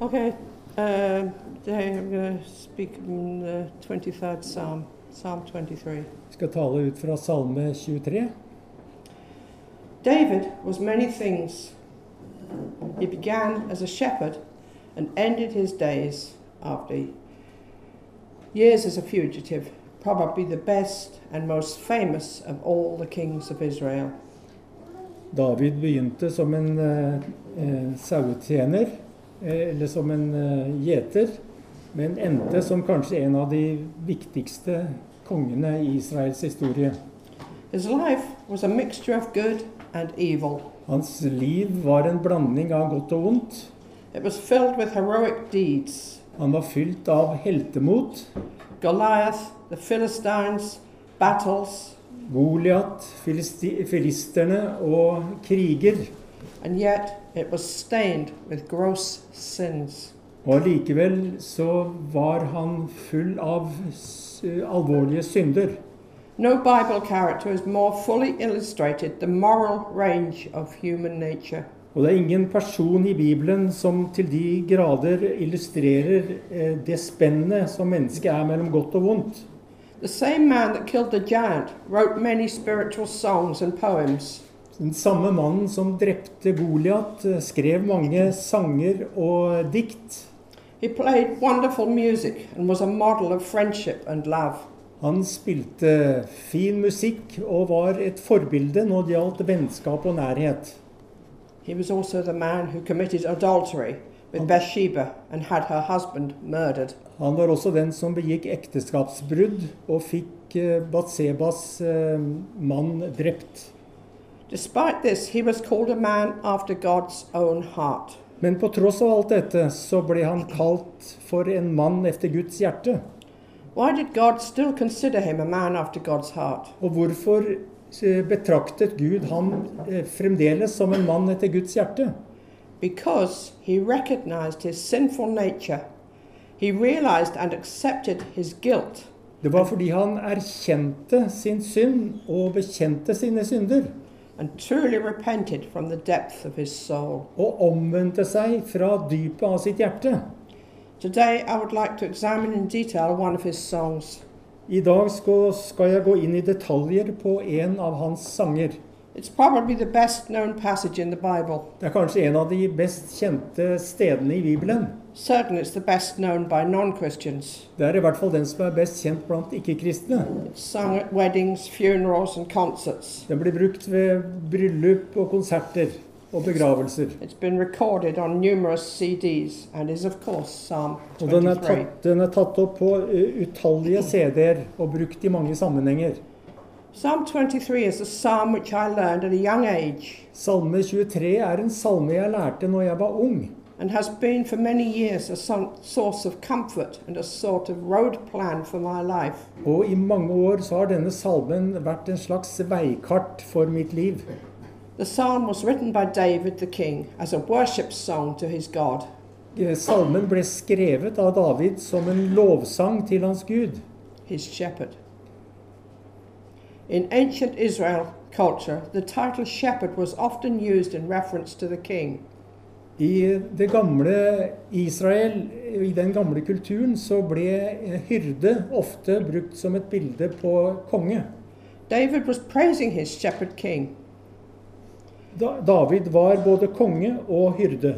Okay, uh, today I'm going to speak from the 23rd Psalm, Psalm 23. Jeg skal tale ut fra Salme 23. David was many things. He began as a shepherd and ended his days after years as a fugitive, probably the best and most famous of all the kings of Israel. David begynte som en eh, eh, sauetjener, eh, eller som en eh, gjeter, men endte som kanskje en av de viktigste kongene i Israels historie. His life was a mixture of good and evil. Hans liv var en blanding av godt og ondt. It was filled with heroic deeds. Han var fylt av heltemot. Goliath, the Philistines, battles, Goliat, filisti filisterne og kriger. and yet it was stained with gross sins. Og allikevel så var han full av s- alvorlige synder. No Bible character has more fully illustrated the moral range of human nature. Og det er ingen person i Bibelen som til de grader illustrerer eh, det spennet som mennesket er mellom godt og vondt. The same man that killed the giant wrote many spiritual songs and poems. Den samme mannen som drepte Goliat, eh, skrev mange sanger og dikt. He played wonderful music and was a model of friendship and love. Han spilte fin musikk og var et forbilde når det gjaldt vennskap og nærhet. He was also the man who committed adultery with Bathsheba and had her husband murdered. Han var også den som begikk ekteskapsbrudd og fikk eh, Batsebas eh, mann drept. Despite this, he was called a man after God's own heart. Men på tross av alt dette så ble han kalt for en mann efter Guds hjerte. Why did God still consider him a man after God's heart? Og hvorfor eh, betraktet Gud ham eh, fremdeles som en mann etter Guds hjerte? Because he recognized his sinful nature. He realized and accepted his guilt. Det var fordi han erkjente sin synd og bekjente sine synder. and truly repented from the depth of his soul. Og omvendte seg fra dypet av sitt hjerte. Today, I would like to examine in detail one of his songs. I dag skal, skal jeg gå inn i detaljer på en av hans sanger. It's probably the best known passage in the Bible. Det er kanskje en av de best kjente stedene i Bibelen. Certainly, it's the best known by non Christians. Det er i hvert fall den som er best kjent blant ikke-kristne. It's sung at weddings, funerals, and concerts. Den blir brukt ved bryllup og konserter og begravelser. It's been recorded on numerous CDs and is, of course, Psalm Og den er 23. tatt, den er tatt opp på eh, utallige CD-er og brukt i mange sammenhenger. Psalm 23 is a psalm which I learned at a young age Salme 23 er en salme jeg lærte når jeg var ung, and has been for many years a son- source of comfort and a sort of road plan for my life. og i mange år så har denne salmen vært en slags veikart for mitt liv. The psalm was written by David the king as a worship song to his God. Eh, Salmen ble skrevet av David som en lovsang til hans Gud. his shepherd. In ancient Israel culture, the title shepherd was often used in reference to the king. I det gamle Israel, i den gamle kulturen, så ble hyrde ofte brukt som et bilde på konge. David was praising his shepherd king. Da David var både konge og hyrde.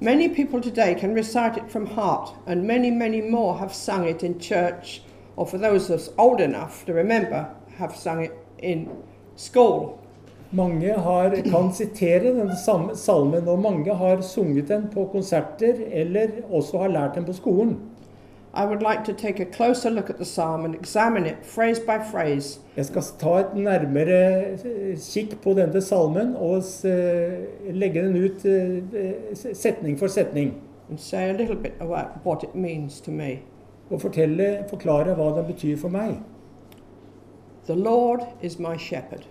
Many people today can recite it from heart, and many, many more have sung it in church, or for those of us old enough to remember, have sung it in school. Mange har, kan sitere den samme salmen, og mange har sunget den på konserter eller også har lært den på skolen. I would like to take a closer look at the psalm and examine it phrase by phrase Jeg skal ta et nærmere eh, kikk på denne salmen og s- eh, legge den ut eh, eh, setning for setning. and say a little bit about what it means to me. Og fortelle, forklare hva den betyr for meg. The Lord is my shepherd.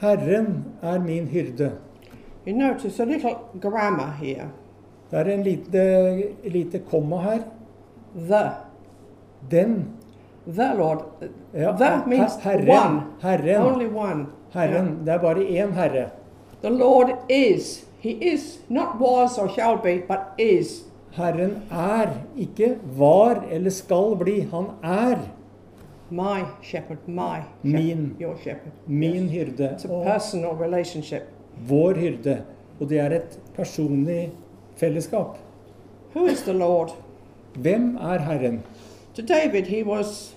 Herren er min hyrde. You notice a little grammar here. Det er en lite, lite komma her. The. Den. The Lord. Ja, the means her- herren, one. Herren. Only one. Herren. Yeah. Det er bare én herre. The Lord is. He is. Not was or shall be, but is. Herren er, ikke var eller skal bli. Han er My shepherd, my shepherd, Min. your shepherd. min hyrde It's a og personal relationship. vår hyrde. Og det er et personlig fellesskap. Who is the Lord? Hvem er Herren? To David, he was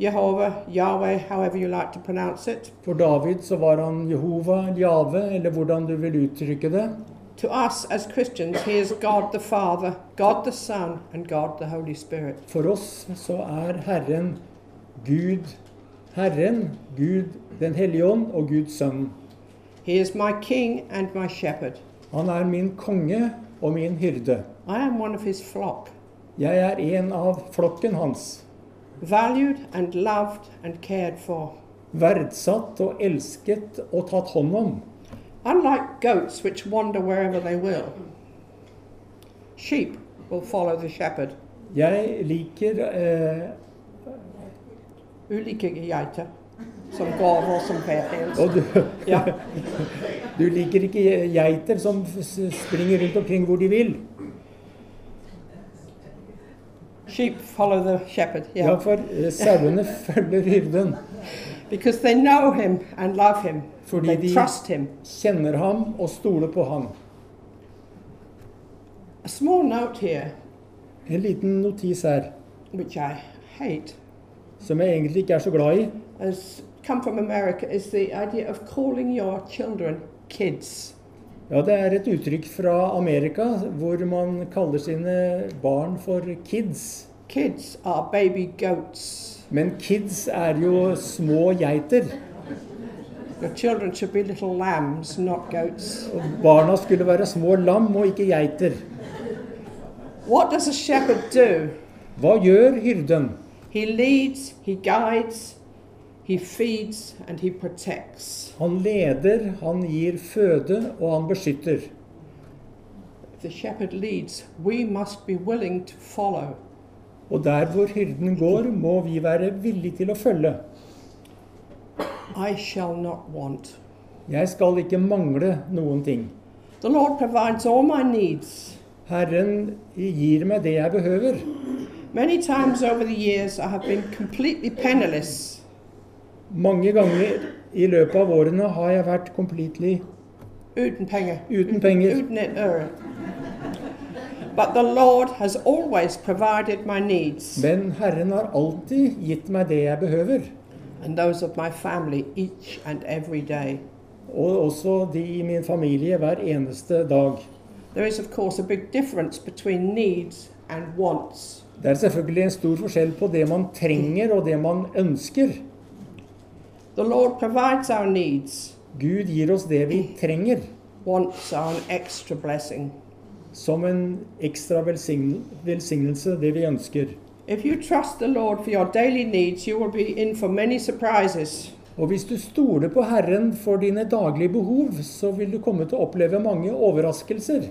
Jehovah, Yahweh, however you like to pronounce it. For David så var han Jehova, Jave, eller hvordan du vil uttrykke det. To us as Christians, he is God the Father, God the Son, and God the Holy Spirit. For oss så er Herren Gud Herren, Gud den hellige ånd og Guds sønn. He is my King and my shepherd. Han er min konge og min hyrde. I am one of his flock, Jeg er en av flokken hans. valued and loved and cared for. Verdsatt og elsket og tatt hånd om. Unlike goats which wander wherever they will, sheep will follow the shepherd. Jeg liker eh, Ulike geiter som går over som færhjels. Og du, Ja. du liker ikke ge- geiter som s- springer rundt omkring hvor de vil. Sheep follow the shepherd, Ja, yeah. for eh, sauene følger hyrden. Because they know him and love him. Fordi they de- trust him. Kjenner ham og stoler på ham. A small note here, En liten notis her, which I hate, som jeg egentlig ikke er så glad i. has come from America, is the idea of calling your children kids. Ja, Det er et uttrykk fra Amerika hvor man kaller sine barn for kids. Kids are baby goats. Men kids er jo små geiter. Your children should be little lambs, not goats. Og barna skulle være små lam og ikke geiter. What does a shepherd do? Hva gjør hyrden? He leads, he guides, he feeds, and he protects. Han leder, han gir føde, og han beskytter. If the shepherd leads, we must be willing to follow. Og der hvor hyrden går, må vi være villige til å følge. I shall not want. Jeg skal ikke mangle noen ting. The Lord provides all my needs. Herren gir meg det jeg behøver. Many times over the years, I have been completely penniless. Mange ganger i løpet av årene har jeg vært completely Uten penger. uten penger. Uten et øre. But the Lord has always provided my needs Men Herren har alltid gitt meg det jeg behøver. and those of my family each and every day. Og også de i min familie hver eneste dag. There is, of course, a big difference between needs and wants. Det er selvfølgelig en stor forskjell på det man trenger og det man ønsker. The Lord provides our needs. Gud gir oss det vi trenger, Wants are an extra blessing. som en ekstra velsign- velsignelse, det vi ønsker. If you trust the Lord for your daily needs, you will be in for many surprises. Og hvis du stoler på Herren for dine daglige behov, så vil du komme til å oppleve mange overraskelser.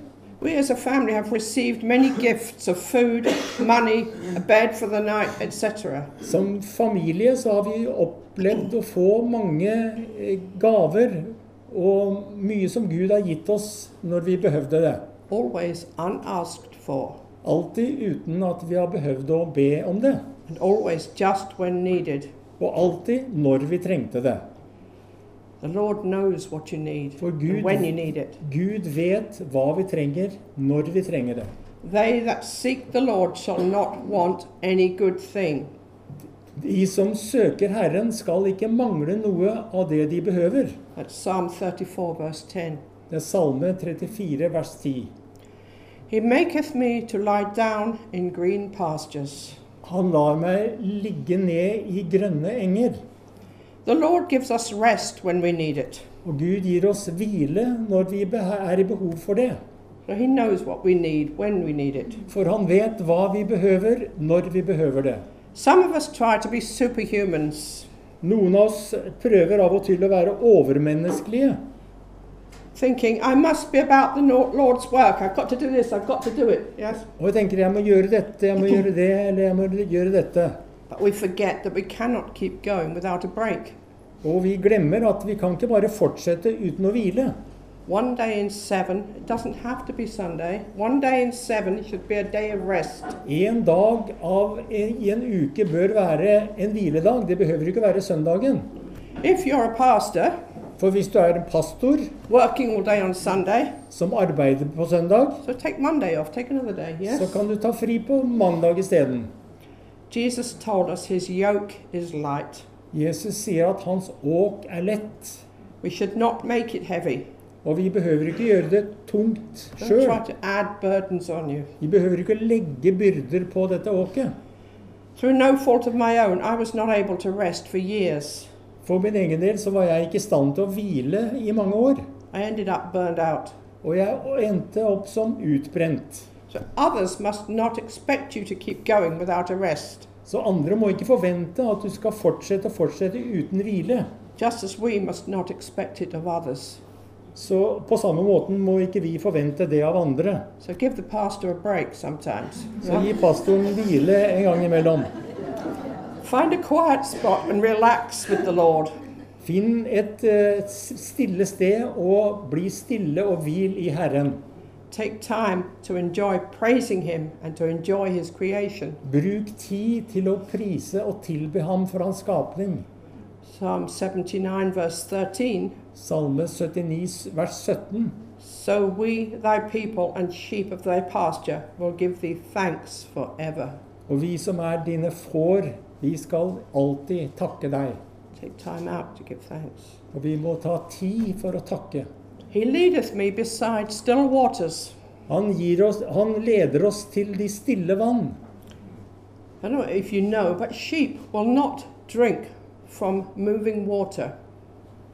We as a family have received many gifts of food, money, a bed for the night, etc. Som familie så har vi opplevd å få mange eh, gaver og mye som Gud har gitt oss når vi behøvde det. Always unasked for, Alltid uten at vi har behøvd å be om det. and always just when needed. Og alltid når vi trengte det. The Lord knows what you need For and Gud- when you need it. Gud vet hva vi trenger, når vi trenger det. They that seek the Lord shall not want any good thing. De som søker Herren, skal ikke mangle noe av det de behøver. That's Psalm 34, verse 10. Det er Salme 34, vers 10. He maketh me to lie down in green pastures. Han lar meg ligge ned i grønne enger, The Lord gives us rest when we need it, og Gud gir oss hvile når vi beh- er i behov for det. for He knows what we need when we need it. For han vet hva vi behøver, når vi behøver det. Some of us try to be superhumans, Noen av oss prøver av og til å være overmenneskelige. thinking, I must be about the Nor- Lord's work, I've got to do this, I've got to do it, yes? Og jeg tenker jeg må gjøre dette, jeg må gjøre det, eller jeg må gjøre dette. But we forget that we cannot keep going without a break. Og vi glemmer at vi kan ikke bare fortsette uten å hvile. One day in seven, it doesn't have to be Sunday, one day in seven should be a day of rest. En dag av, i en uke bør være en hviledag. Det behøver ikke å være søndagen. If you're a pastor For hvis du er en pastor working all day on Sunday, som arbeider på søndag, so take Monday off, take another day, yes? så kan du ta fri på mandag isteden. Jesus told us his yoke is light. Jesus sier at hans åk er lett, We should not make it heavy. og vi behøver ikke gjøre det tungt Don't sjøl. try to add burdens on you. Vi behøver ikke legge byrder på dette åket. Through no fault of my own, I was not able to rest for years. For min egen del så var jeg ikke i stand til å hvile i mange år, I ended up burned out. og jeg endte opp som utbrent. So others must not expect you to keep going without a rest, Så andre må ikke forvente at du skal fortsette og fortsette uten hvile. just as we must not expect it of others. Så på samme måten må ikke vi forvente det av andre. So give the pastor a break sometimes. Så gi pastoren hvile en gang imellom. Find a quiet spot and relax with the Lord. Finn et eh, s- stille sted og bli stille og hvil i Herren. Take time to enjoy praising Him and to enjoy His creation. Bruk tid til å prise og tilbe ham for hans skapning. Psalm 79, verse 13 Salme 79 vers 17. So we, thy people, and sheep of thy pasture, will give thee thanks forever. Og vi som er dine får, vi skal alltid takke deg. Take time out to give thanks. Og vi må ta tid for å takke. He leadeth me beside still waters. Han, gir oss, han leder oss til de stille vann. I don't know if you know, but sheep will not drink from moving water.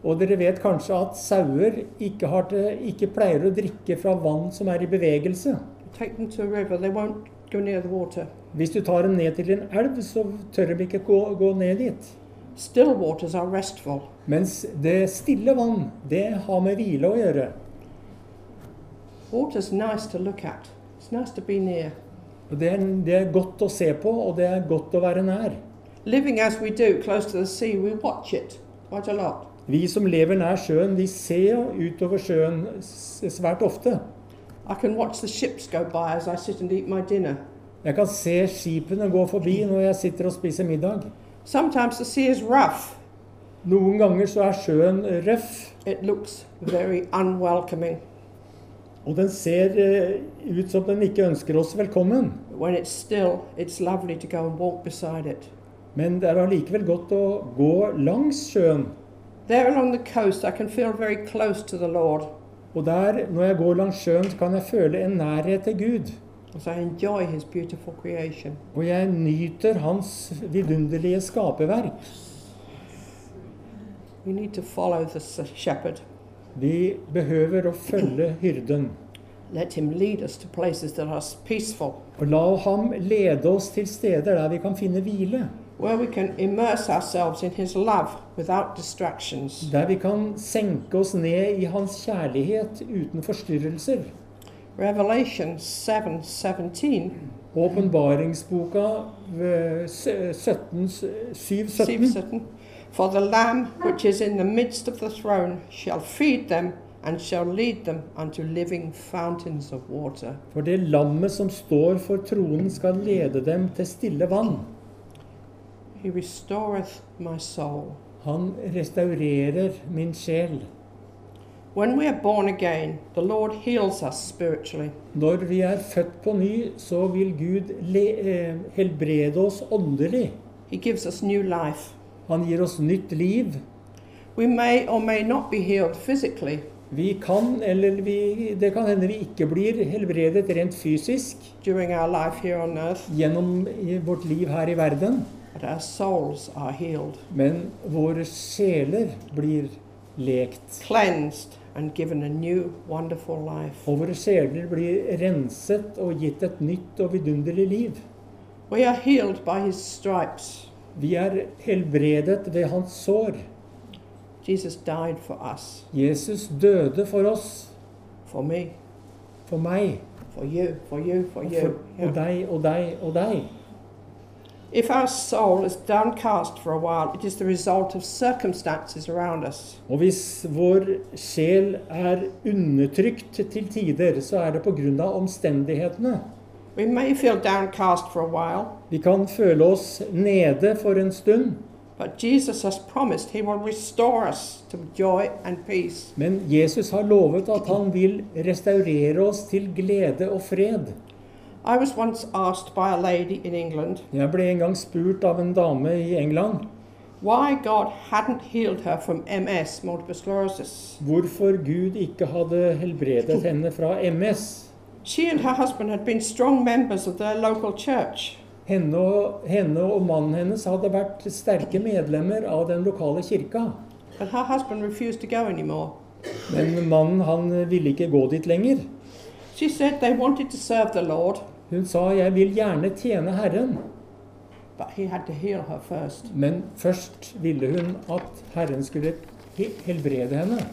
Og dere vet kanskje at sauer ikke, har til, ikke pleier å drikke fra vann som er i bevegelse. Take them to a river, they won't go near the water. Hvis du tar dem ned til en elv, så tør de ikke gå, gå ned dit. Still waters are restful. Mens det stille vann, det har med hvile å gjøre. Water's nice to look at, it's nice to be near. Og det, er, det er godt å se på, og det er godt å være nær. Living as we do close to the sea, we watch it quite a lot. Vi som lever nær sjøen, vi ser jo utover sjøen s- svært ofte. I can watch the ships go by as I sit and eat my dinner. Jeg kan se skipene gå forbi når jeg sitter og spiser middag. Sometimes the sea is rough. Noen ganger så er sjøen røff, It looks very unwelcoming. og den ser eh, ut som den ikke ønsker oss velkommen. But when it's still, it's lovely to go and walk beside it. Men det er allikevel godt å gå langs sjøen. There along the coast, I can feel very close to the Lord Og der, når jeg går langs sjøen, så kan jeg føle en nærhet til Gud. as I enjoy His beautiful creation. Og jeg nyter hans vidunderlige skaperverk. We need to follow the s- shepherd. Vi behøver å følge hyrden. Let him lead us to places that are s- peaceful, Og la ham lede oss til steder der vi kan finne hvile. where we can immerse ourselves in His love without distractions. Der vi kan senke oss ned i hans kjærlighet uten forstyrrelser. Revelation 7 17. Åpenbaringsboka eh, sø- 17, eh, 7, 7, 17. 17. For the Lamb which is in the midst of the throne shall feed them and shall lead them unto living fountains of water. For det lammet som står for tronen, skal lede dem til stille vann. He restoreth my soul. Han restaurerer min sjel. When we are born again, the Lord heals us spiritually. Når vi er født på ny, så vil Gud le eh, helbrede oss åndelig. He gives us new life. Han gir oss nytt liv. We may or may not be healed physically Vi kan, eller vi, det kan hende vi ikke blir helbredet rent fysisk during our life here on earth, gjennom i vårt liv her i verden, but our souls are healed, men våre sjeler blir lekt. cleansed, and given a new, wonderful life. Og våre sjeler blir renset og gitt et nytt og vidunderlig liv. We are healed by his stripes. Vi er helbredet ved hans sår. Jesus died for us, Jesus døde for oss, for me, for meg, for you, for you, for og for, you. Yeah. og deg og deg og deg. If our soul is downcast for a while, it is the result of circumstances around us. Og hvis vår sjel er undertrykt til tider, så er det pga. omstendighetene. We may feel downcast for a while, Vi kan føle oss nede for en stund, but Jesus has promised He will restore us to joy and peace. men Jesus har lovet at han vil restaurere oss til glede og fred. I was once asked by a lady in England Jeg ble en gang spurt av en dame i England why God hadn't healed her from MS, multiple sclerosis. hvorfor Gud ikke hadde helbredet henne fra MS. She and her husband had been strong members of their local church. Henne og, henne og mannen hennes hadde vært sterke medlemmer av den lokale kirka. But her husband refused to go anymore. Men mannen han ville ikke gå dit lenger. She said they wanted to serve the Lord, Hun sa 'jeg vil gjerne tjene Herren', but he had to heal her first. men først ville hun at Herren skulle he- helbrede henne.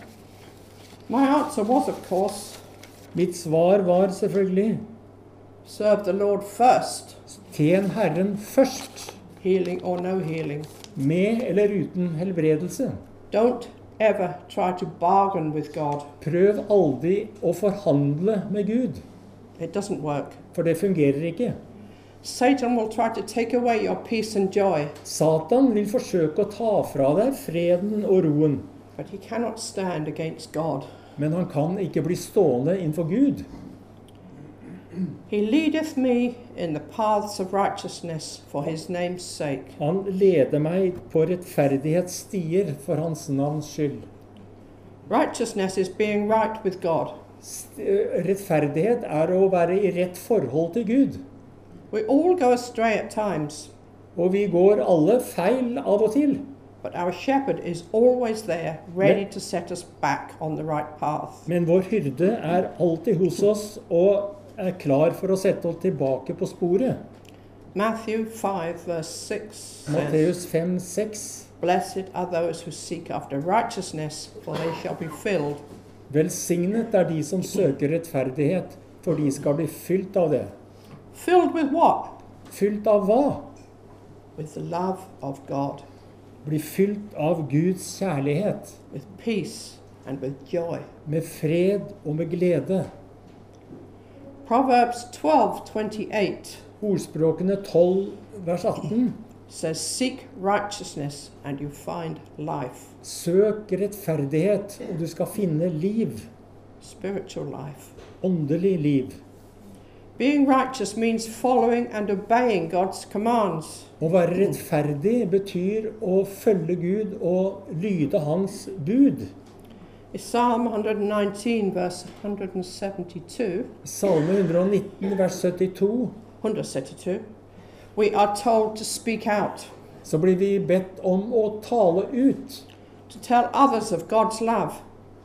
My answer was, of course, Mitt svar var selvfølgelig serve the Lord first, 'tjen Herren først', healing or no healing. med eller uten helbredelse. Don't ever try to bargain with God. Prøv aldri å forhandle med Gud, It doesn't work. for det fungerer ikke. Satan will try to take away your peace and joy, Satan vil forsøke å ta fra deg freden og roen, but he cannot stand against God. men han kan ikke bli stående innenfor Gud. He leadeth me in the paths of righteousness for his name's sake. Han leder meg på rettferdighetsstier for hans navns skyld. Righteousness is being right with God. St- eh, Rettferdighet er å være i rett forhold til Gud. We all go astray at times, Og vi går alle feil av og til. but our shepherd is always there, ready Yeah. to set us back on the right path. Men vår hyrde er alltid hos oss og er klar for å sette oss tilbake på sporet. Matthew 5, verse 6 says, Matteus 5,6. Blessed are those who seek after righteousness, for they shall be filled. Velsignet er de som søker rettferdighet, for de skal bli fylt av det. Filled with what? Fylt av hva? With the love of God, Bli fylt av Guds kjærlighet. with peace, and with joy. Med fred og med glede. Proverbs 12, 28 Ordspråkene 12 vers 18. says, Seek righteousness, and you find life, Søk rettferdighet, og du skal finne liv. spiritual life. Åndelig liv. Being righteous means following and obeying God's commands. Å være rettferdig betyr å følge Gud og lyde Hans bud. Psalm 119, verse 172, Salme 119 vers 72. 172, we are told to speak out, Så blir vi bedt om å tale ut to tell others of God's love.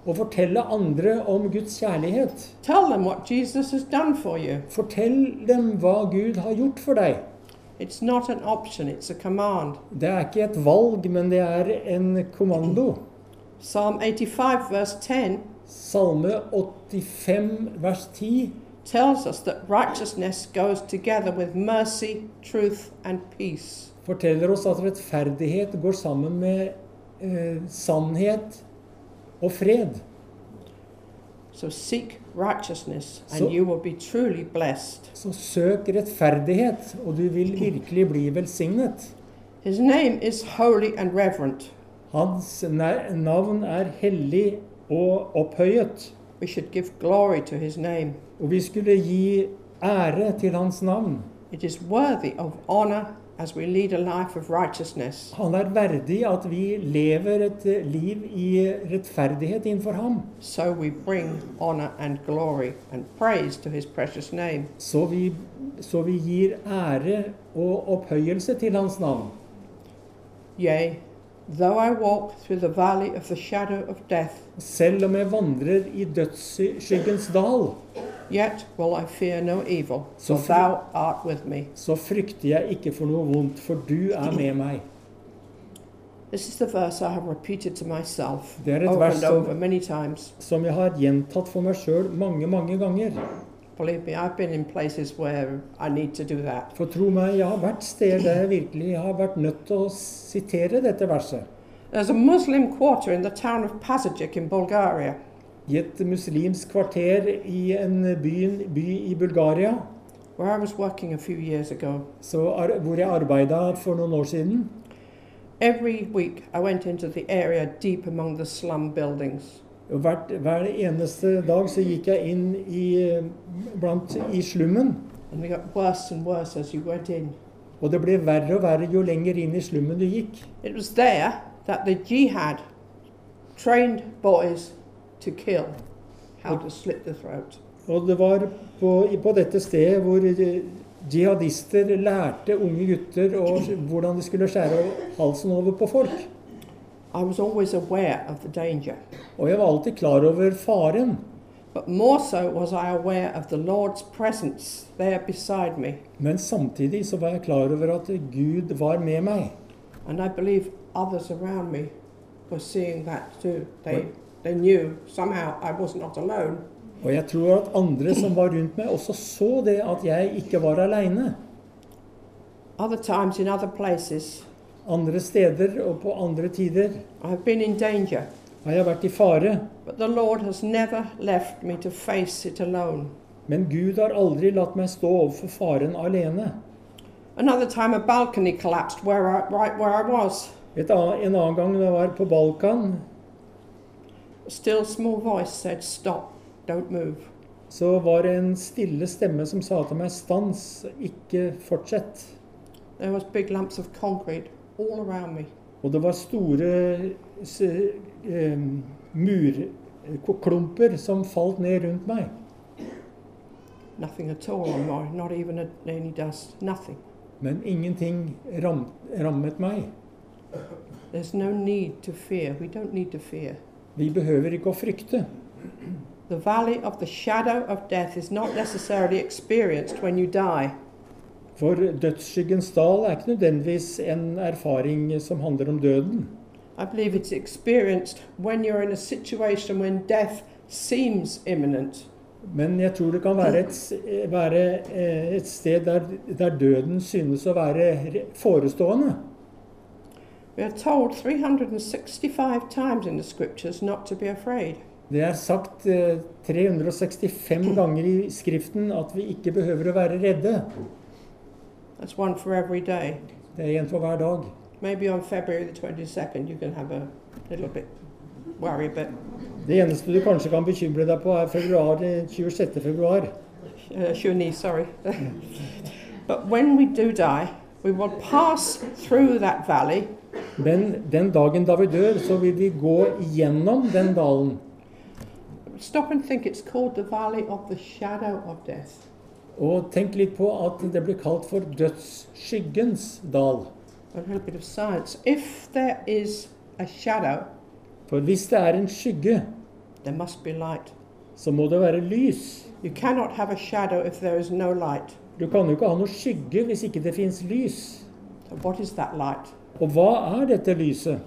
og fortelle andre om Guds kjærlighet. Tell them what Jesus has done for you. Fortell dem hva Gud har gjort for deg. It's not an option, it's a command. Det er ikke et valg, men det er en kommando. Psalm 85, verse 10, Salme 85 vers 10. tells us that righteousness goes together with mercy, truth, and peace. forteller oss at rettferdighet går sammen med eh, sannhet og fred. So seek righteousness, and So- you will be truly blessed. Så søk rettferdighet, og du vil virkelig bli velsignet. His name is holy and reverent. Hans na- navn er hellig og opphøyet, We should give glory to his name. og vi skulle gi ære til hans navn. It is worthy of honor as we lead a life of righteousness. Han er verdig at vi lever et eh, liv i rettferdighet innenfor ham. So we bring honor and glory and praise to his precious name. Så vi, så vi gir ære og opphøyelse til hans navn. Yea, though I walk through the valley of the shadow of death, Selv om jeg vandrer i dødsskyggens dal, yet will I fear no evil, So for fe- thou art with me. så frykter jeg ikke for noe vondt, for du er med meg. This is the verse I have repeated to myself Det er et over vers and som- over many times. Som jeg har gjentatt for meg sjøl mange, mange ganger. Believe me, I've been in places where I need to do that. For tro meg, jeg har vært steder der jeg virkelig har vært nødt til å sitere dette verset. There's a Muslim quarter in the town of Pazajic in Bulgaria. I et muslimsk kvarter i en by, by i Bulgaria, where I was working a few years ago. så ar hvor jeg arbeida for noen år siden, Every week I went into the area deep among the slum buildings. og hvert, hver eneste dag så gikk jeg inn i, eh, blant, i slummen. And they got worse and worse as you went in. Og det ble verre og verre jo lenger inn i slummen du gikk. It was there that the jihad trained boys to kill, how to slit the throat. Og det var på, i- på dette stedet hvor eh, jihadister lærte unge gutter å, hvordan de skulle skjære halsen over på folk. I was always aware of the danger, Og jeg var alltid klar over faren. but more so was I aware of the Lord's presence there beside me. Men samtidig så var jeg klar over at Gud var med meg. And I believe others around me were seeing that too. They, they knew somehow I was not alone. Og jeg tror at andre som var rundt meg, også så det at jeg ikke var aleine. Other times in other places, Andre steder og på andre tider I've been in danger, har jeg vært i fare. but the Lord has never left me to face it alone. Men Gud har aldri latt meg stå overfor faren alene. Another time, a balcony collapsed where I, right where I was. Et ann- en annen gang da jeg var på Balkan, A still small voice said, Stop, don't move. så var det en stille stemme som sa til meg 'stans, ikke fortsett'. There was big lumps of concrete all around me. Og det var store s- eh, murklumper som falt ned rundt meg. Nothing at all, not, not even a, any dust, nothing. Men ingenting ram, rammet meg. There's no need to fear. We don't need to fear. Vi behøver ikke å frykte. The valley of the shadow of death is not necessarily experienced when you die. For dødsskyggens dal er ikke nødvendigvis en erfaring som handler om døden. I believe it's experienced when you're in a situation when death seems imminent. Men jeg tror det kan være et, s- være eh, et sted der, der døden synes å være re- forestående. We are told 365 times in the scriptures not to be afraid. Det er sagt eh, 365 ganger i Skriften at vi ikke behøver å være redde. That's one for every day. Det er en for hver dag. Maybe on February the 22nd you can have a little bit worry a bit. Det eneste du kanskje kan bekymre deg på, er februar, eh, 26. februar. Uh, Shuni, sorry. but when we do die, we will pass through that valley Men den dagen da vi dør, så vil vi gå gjennom den dalen. Stop and think, it's called the Valley of the Shadow of Death. Og tenk litt på at det blir kalt for dødsskyggens dal. A little bit of science. If there is a shadow, For hvis det er en skygge, there must be light. så må det være lys. You cannot have a shadow if there is no light. Du kan jo ikke ha noe skygge hvis ikke det fins lys. So, what is that light? Og hva er dette lyset?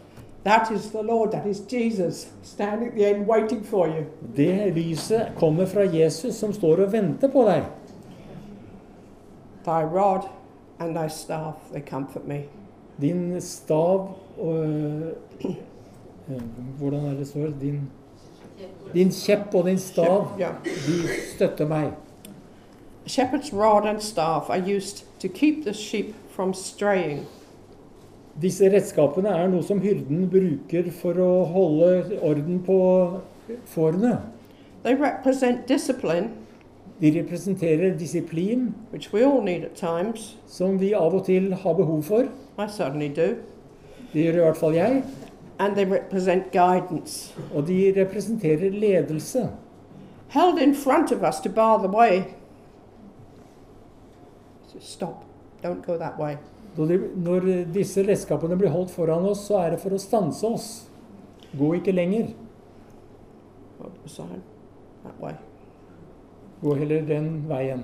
That is the Lord, that is Jesus, standing at the end waiting for you. Det lyset kommer fra Jesus som står og venter på deg. Thy rod and thy staff, they comfort me. Din stav og eh, Hvordan er det står? Din, din kjepp og din stav, Yeah. de støtter meg. Shepherd's rod and staff are used to keep the sheep from straying. Disse redskapene er noe som hyrden bruker for å holde orden på fårene. They represent discipline, De representerer disiplin, which we all need at times. som vi av og til har behov for. I certainly do. Det gjør i hvert fall jeg. and they represent guidance. Og de representerer ledelse. Held in front of us to bar the way. So stop, don't go that way. Når de- Når disse redskapene blir holdt foran oss, så er det for å stanse oss. Gå ikke lenger. Hold the sign, that way. Gå heller den veien.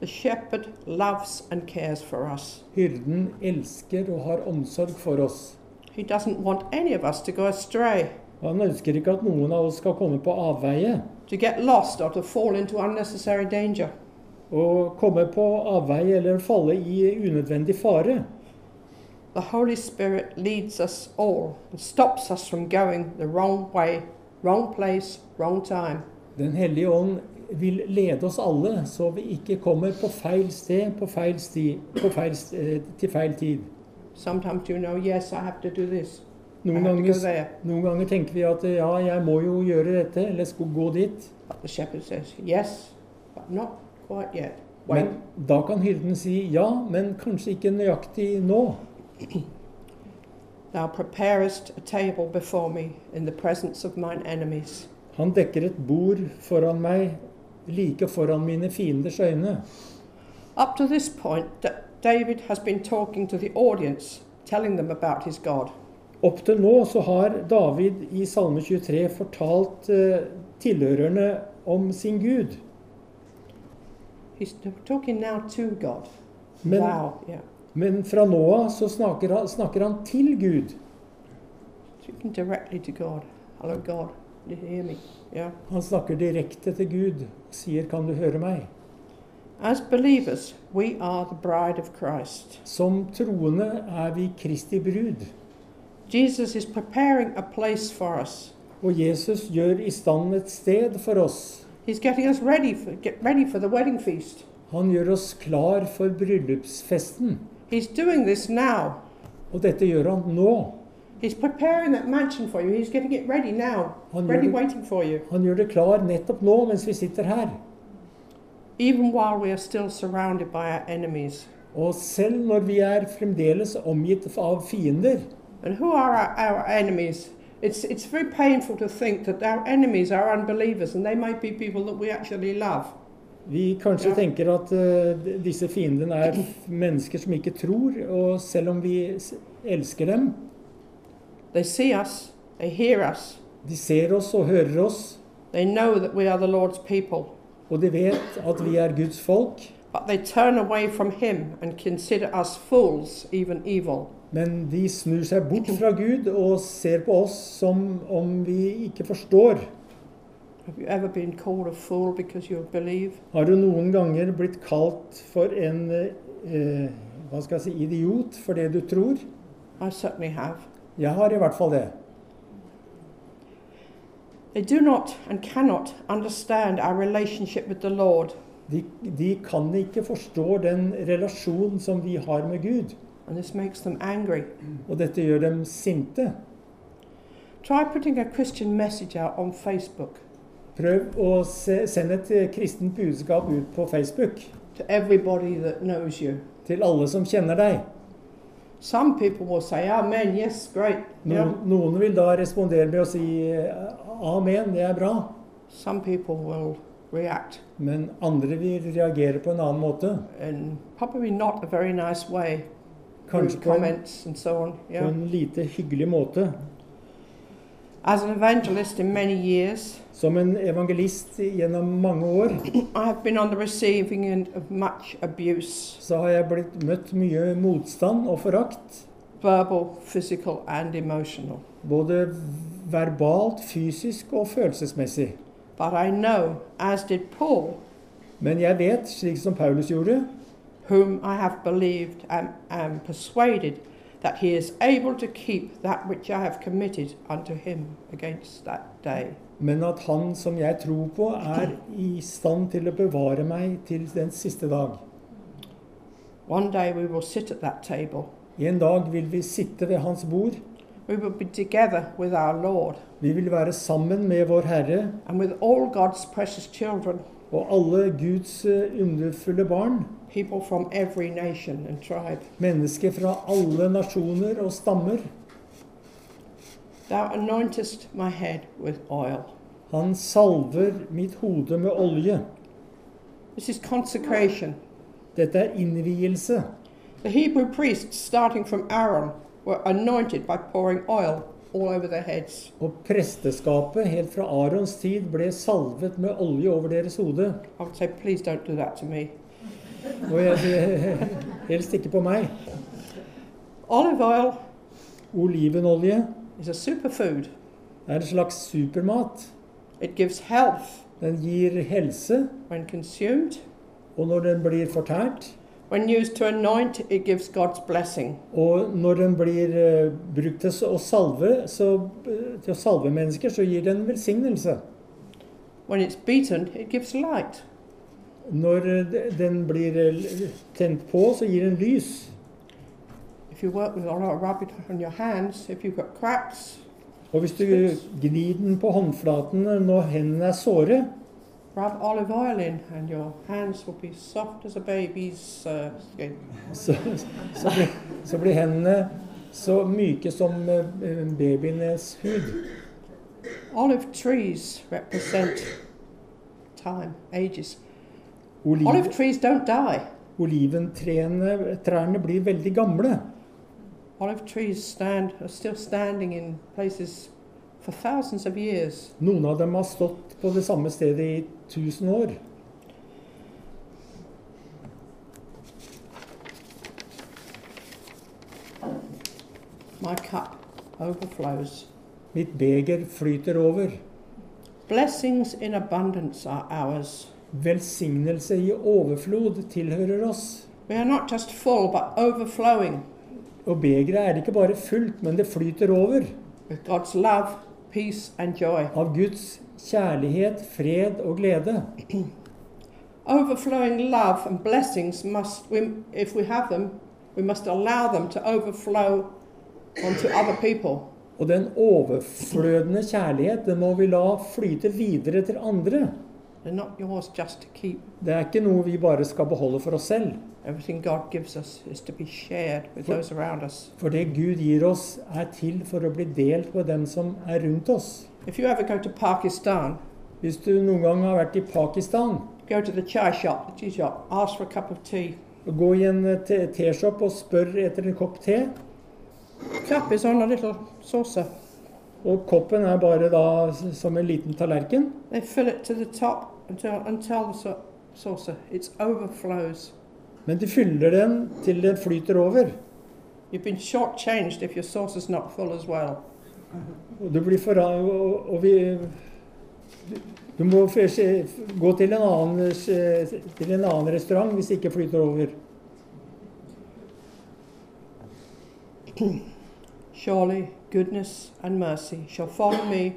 The shepherd loves and cares for us. Hyrden elsker og har omsorg for oss. He doesn't want any of us to go astray. Han ønsker ikke at noen av oss skal komme på avveie. to get lost or to fall into unnecessary danger. Å komme på avveie eller falle i unødvendig fare. The Holy Spirit leads us all and stops us from going the wrong way, wrong place, wrong time. Den hellige ånd vil lede oss alle, så vi ikke kommer på feil sted, på feil sti, på feil st- eh, til feil tid. Sometimes you know, yes, I have to do this. I Noen have to go ganger, there. noen ganger tenker vi at eh, ja, jeg må jo gjøre dette, eller skulle gå dit. But the shepherd says, yes, but not quite yet. Wait. Men da kan hyrden si ja, men kanskje ikke nøyaktig nå. Thou preparest a table before me in the presence of mine enemies. Han dekker et bord foran meg, like foran mine fienders øyne. Up to this point, Da- David has been talking to the audience, telling them about his God. Opp til nå så har David i Salme 23 fortalt eh, tilhørerne om sin Gud. He's t- talking now to God. Men, Thou, yeah. men fra nå av så snakker han, snakker han til Gud. Speaking directly to God. Hello, God. Did you hear me? Yeah. Han snakker direkte til Gud, sier 'Kan du høre meg?' As believers, we are the bride of Christ. Som troende er vi Kristi brud, Jesus is preparing a place for us. og Jesus gjør i stand et sted for oss. He's getting us ready for get ready for the wedding feast. Han gjør oss klar for bryllupsfesten, He's doing this now. og dette gjør han nå. He's preparing that mansion for you. He's getting it ready now. Han ready gjør, det, waiting for you. han gjør det klar nettopp nå mens vi sitter her. Even while we are still surrounded by our enemies. Og selv når vi er fremdeles omgitt av fiender, And who are our, our enemies? It's, it's very painful to think that our enemies are unbelievers and they might be people that we actually love. Vi kanskje Ja. tenker at eh, d- disse fiendene er f- mennesker som ikke tror, og selv om vi s- elsker dem They see us, they hear us, De ser oss og hører oss, they know that we are the Lord's people, og de vet at vi er Guds folk, but they turn away from Him and consider us fools, even evil. men de snur seg bort fra Gud og ser på oss som om vi ikke forstår. Have you ever been called a fool because you believe? Har du noen ganger blitt kalt for en eh, hva skal jeg si, idiot for det du tror? I certainly have. Jeg har i hvert fall det. They do not and cannot understand our relationship with the Lord, De, de kan ikke forstå den relasjon som vi har med Gud. and this makes them angry. Og dette gjør dem sinte. Try putting a Christian message out on Facebook Prøv å se, sende et eh, kristent budskap ut på Facebook to everybody that knows you. til alle som kjenner deg. Some people will say, Amen, yes, great. Noen, Yeah. noen vil da respondere med å si eh, amen, det er bra. Some people will react Men andre vil reagere på en annen måte. in probably not a very nice way, Kanskje rude på en, comments and so on. på Yeah. en lite hyggelig måte. As an evangelist in many years, Som en evangelist gjennom mange år I have been on the receiving end of much abuse, så har jeg blitt møtt mye motstand og forakt. verbal, physical, and emotional. Både verbalt, fysisk og følelsesmessig. But I know, as did Paul, Men jeg vet, slik som Paulus gjorde, whom I have believed and am persuaded that he is able to keep that which I have committed unto him against that day. men at han som jeg tror på, er i stand til å bevare meg til den siste dag. One day we will sit at that table. En dag vil vi sitte ved hans bord. We will be together with our Lord Vi vil være sammen med vår Herre and with all God's precious children, og alle Guds eh, underfulle barn. people from every nation and tribe. Mennesker fra alle nasjoner og stammer. Thou anointest my head with oil. Han salver mitt hode med olje. This is consecration. Dette er innvielse. The Hebrew priests, starting from Aaron, were anointed by pouring oil all over their heads. Og presteskapet helt fra Arons tid ble salvet med olje over deres hode. I would say, please don't do that to me. Og jeg, helst ikke på meg. Olive oil Olivenolje is a superfood. Det er en slags supermat. It gives health Den gir helse, when consumed. og når den blir fortært, When used to anoint, it gives God's blessing. og når den blir eh, brukt til s- å salve, så, eh, til å salve mennesker, så gir den velsignelse. When it's beaten, it gives light. Når eh, de- den blir eh, l- tent på, så gir den lys. If you work with a lot of rubber on your hands, if you've got cracks, Og hvis du gnir den på håndflatene når hendene er såre, rub olive oil in, and your hands will be soft as a baby's uh, skin. så, så, blir, så blir hendene så myke som eh, babyenes hud. Olive trees represent time, ages. Oliv, Olive trees don't die. oliventrærne trærne blir veldig gamle. Olive trees stand are still standing in places for thousands of years. Noen av dem har stått på det samme stedet i 1000 år. My cup overflows. Mitt beger flyter over. Blessings in abundance are ours. Velsignelse i overflod tilhører oss. We are not just full, but overflowing Og begeret er ikke bare fullt, men det flyter over with God's love, peace, and joy. av Guds kjærlighet, fred og glede. Overflowing love and blessings must, we, if we have them, we must allow them to overflow onto other people. Og den overflødende kjærlighet, den må vi la flyte videre til andre. They're not yours just to keep. Det er ikke noe vi bare skal beholde for oss selv. Everything God gives us is to be shared with those around us. For det Gud gir oss, er til for å bli delt med dem som er rundt oss. If you ever go to Pakistan, Hvis du noen gang har vært i Pakistan, go to the chai shop, the tea shop, ask for a cup of tea. gå i en te- teshop og spør etter en kopp te, The cup is on a little saucer. og koppen er bare da s- som en liten tallerken, They fill it to the top until, until the sau- saucer it overflows. men de fyller den til den flyter over. You've been shortchanged if your saucer's not full as well. Og du blir forra... Og, og vi Du må først eh, gå til en, annen, eh, til en annen restaurant hvis det ikke flyter over. Surely goodness and mercy shall follow me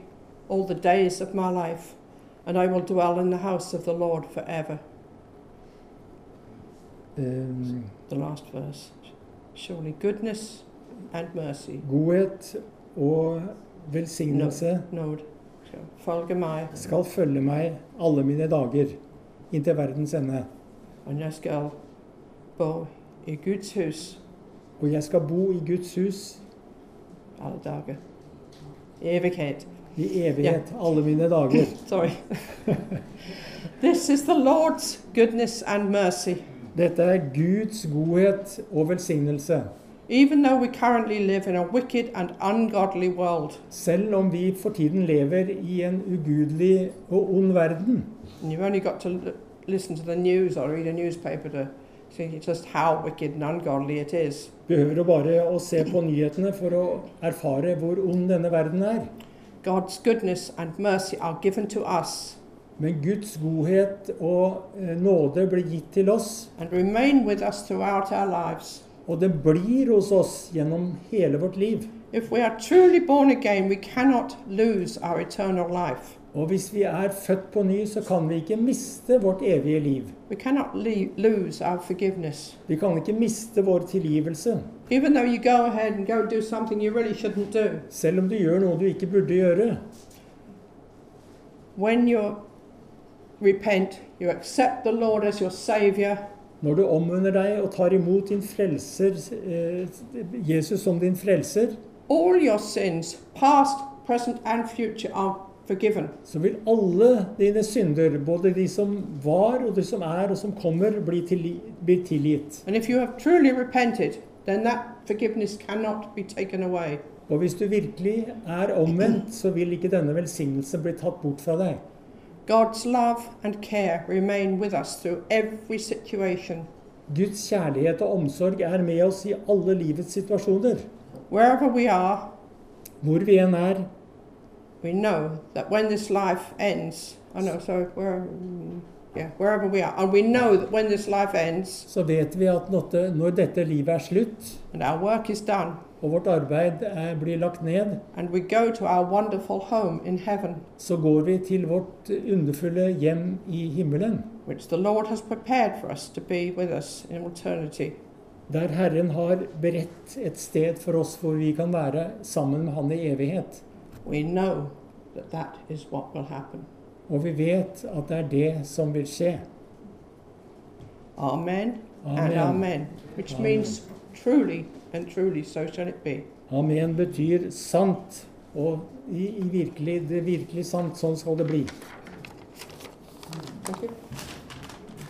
all the days of my life, and I will dwell in the house of the Lord forever. Eh, The last verse. Surely goodness and mercy, godhet og velsignelse Nod, shall follow me. skal følge meg alle mine dager inntil verdens ende. And jag ska bo i Guds hus Og jeg skal bo i Guds hus alla dagar. I evighet. i evighet alle mine dager. Sorry. this is the Lord's goodness and mercy. Dette er Guds godhet og velsignelse. Even though we currently live in a wicked and ungodly world, Selv om vi for tiden lever i en ugudelig og ond verden. and you've only got to l- listen to the news or read a newspaper to see just how wicked and ungodly it is. Behøver å bare å se på nyhetene for å erfare hvor ond denne verden er. God's goodness and mercy are given to us Men Guds godhet og eh, nåde blir gitt til oss, and remain with us throughout our lives. og den blir hos oss gjennom hele vårt liv. If we are truly born again, we cannot lose our eternal life. Og hvis vi er født på ny, så kan vi ikke miste vårt evige liv. We cannot le- lose our forgiveness. Vi kan ikke miste vår tilgivelse. Even though you go ahead and go and do something you really shouldn't do, Selv om du gjør noe du ikke burde gjøre. when you repent, you accept the Lord as your Saviour, Når du omvender deg og tar imot din frelser, eh, Jesus som din frelser, all your sins, past, present, and future, are forgiven. så vil alle dine synder, både de som var, og de som er, og som kommer, bli, tilgi bli tilgitt. And if you have truly repented, then that forgiveness cannot be taken away. Og hvis du virkelig er omvendt, så vil ikke denne velsignelsen bli tatt bort fra deg. God's love and care remain with us through every situation. Guds kjærlighet og omsorg er med oss i alle livets situasjoner. Wherever we are, Hvor vi enn er, we we know that when this life ends, I know, so we're, mm, yeah, wherever we are, and we know that when this life ends så vet vi at nåtte- når dette livet er slutt, and our work is done, og vårt arbeid er, blir lagt ned, and we go to our wonderful home in heaven, så går vi til vårt underfulle hjem i himmelen, which the Lord has prepared for us to be with us in eternity. der Herren har beredt et sted for oss hvor vi kan være sammen med Han i evighet. We know that that is what will happen. Og vi vet at det er det som vil skje. Amen, and Amen. amen, which Amen. means truly and truly so shall it be. Amen betyr sant, og i, i virkelig, det er virkelig sant. Sånn skal det bli. Thank you.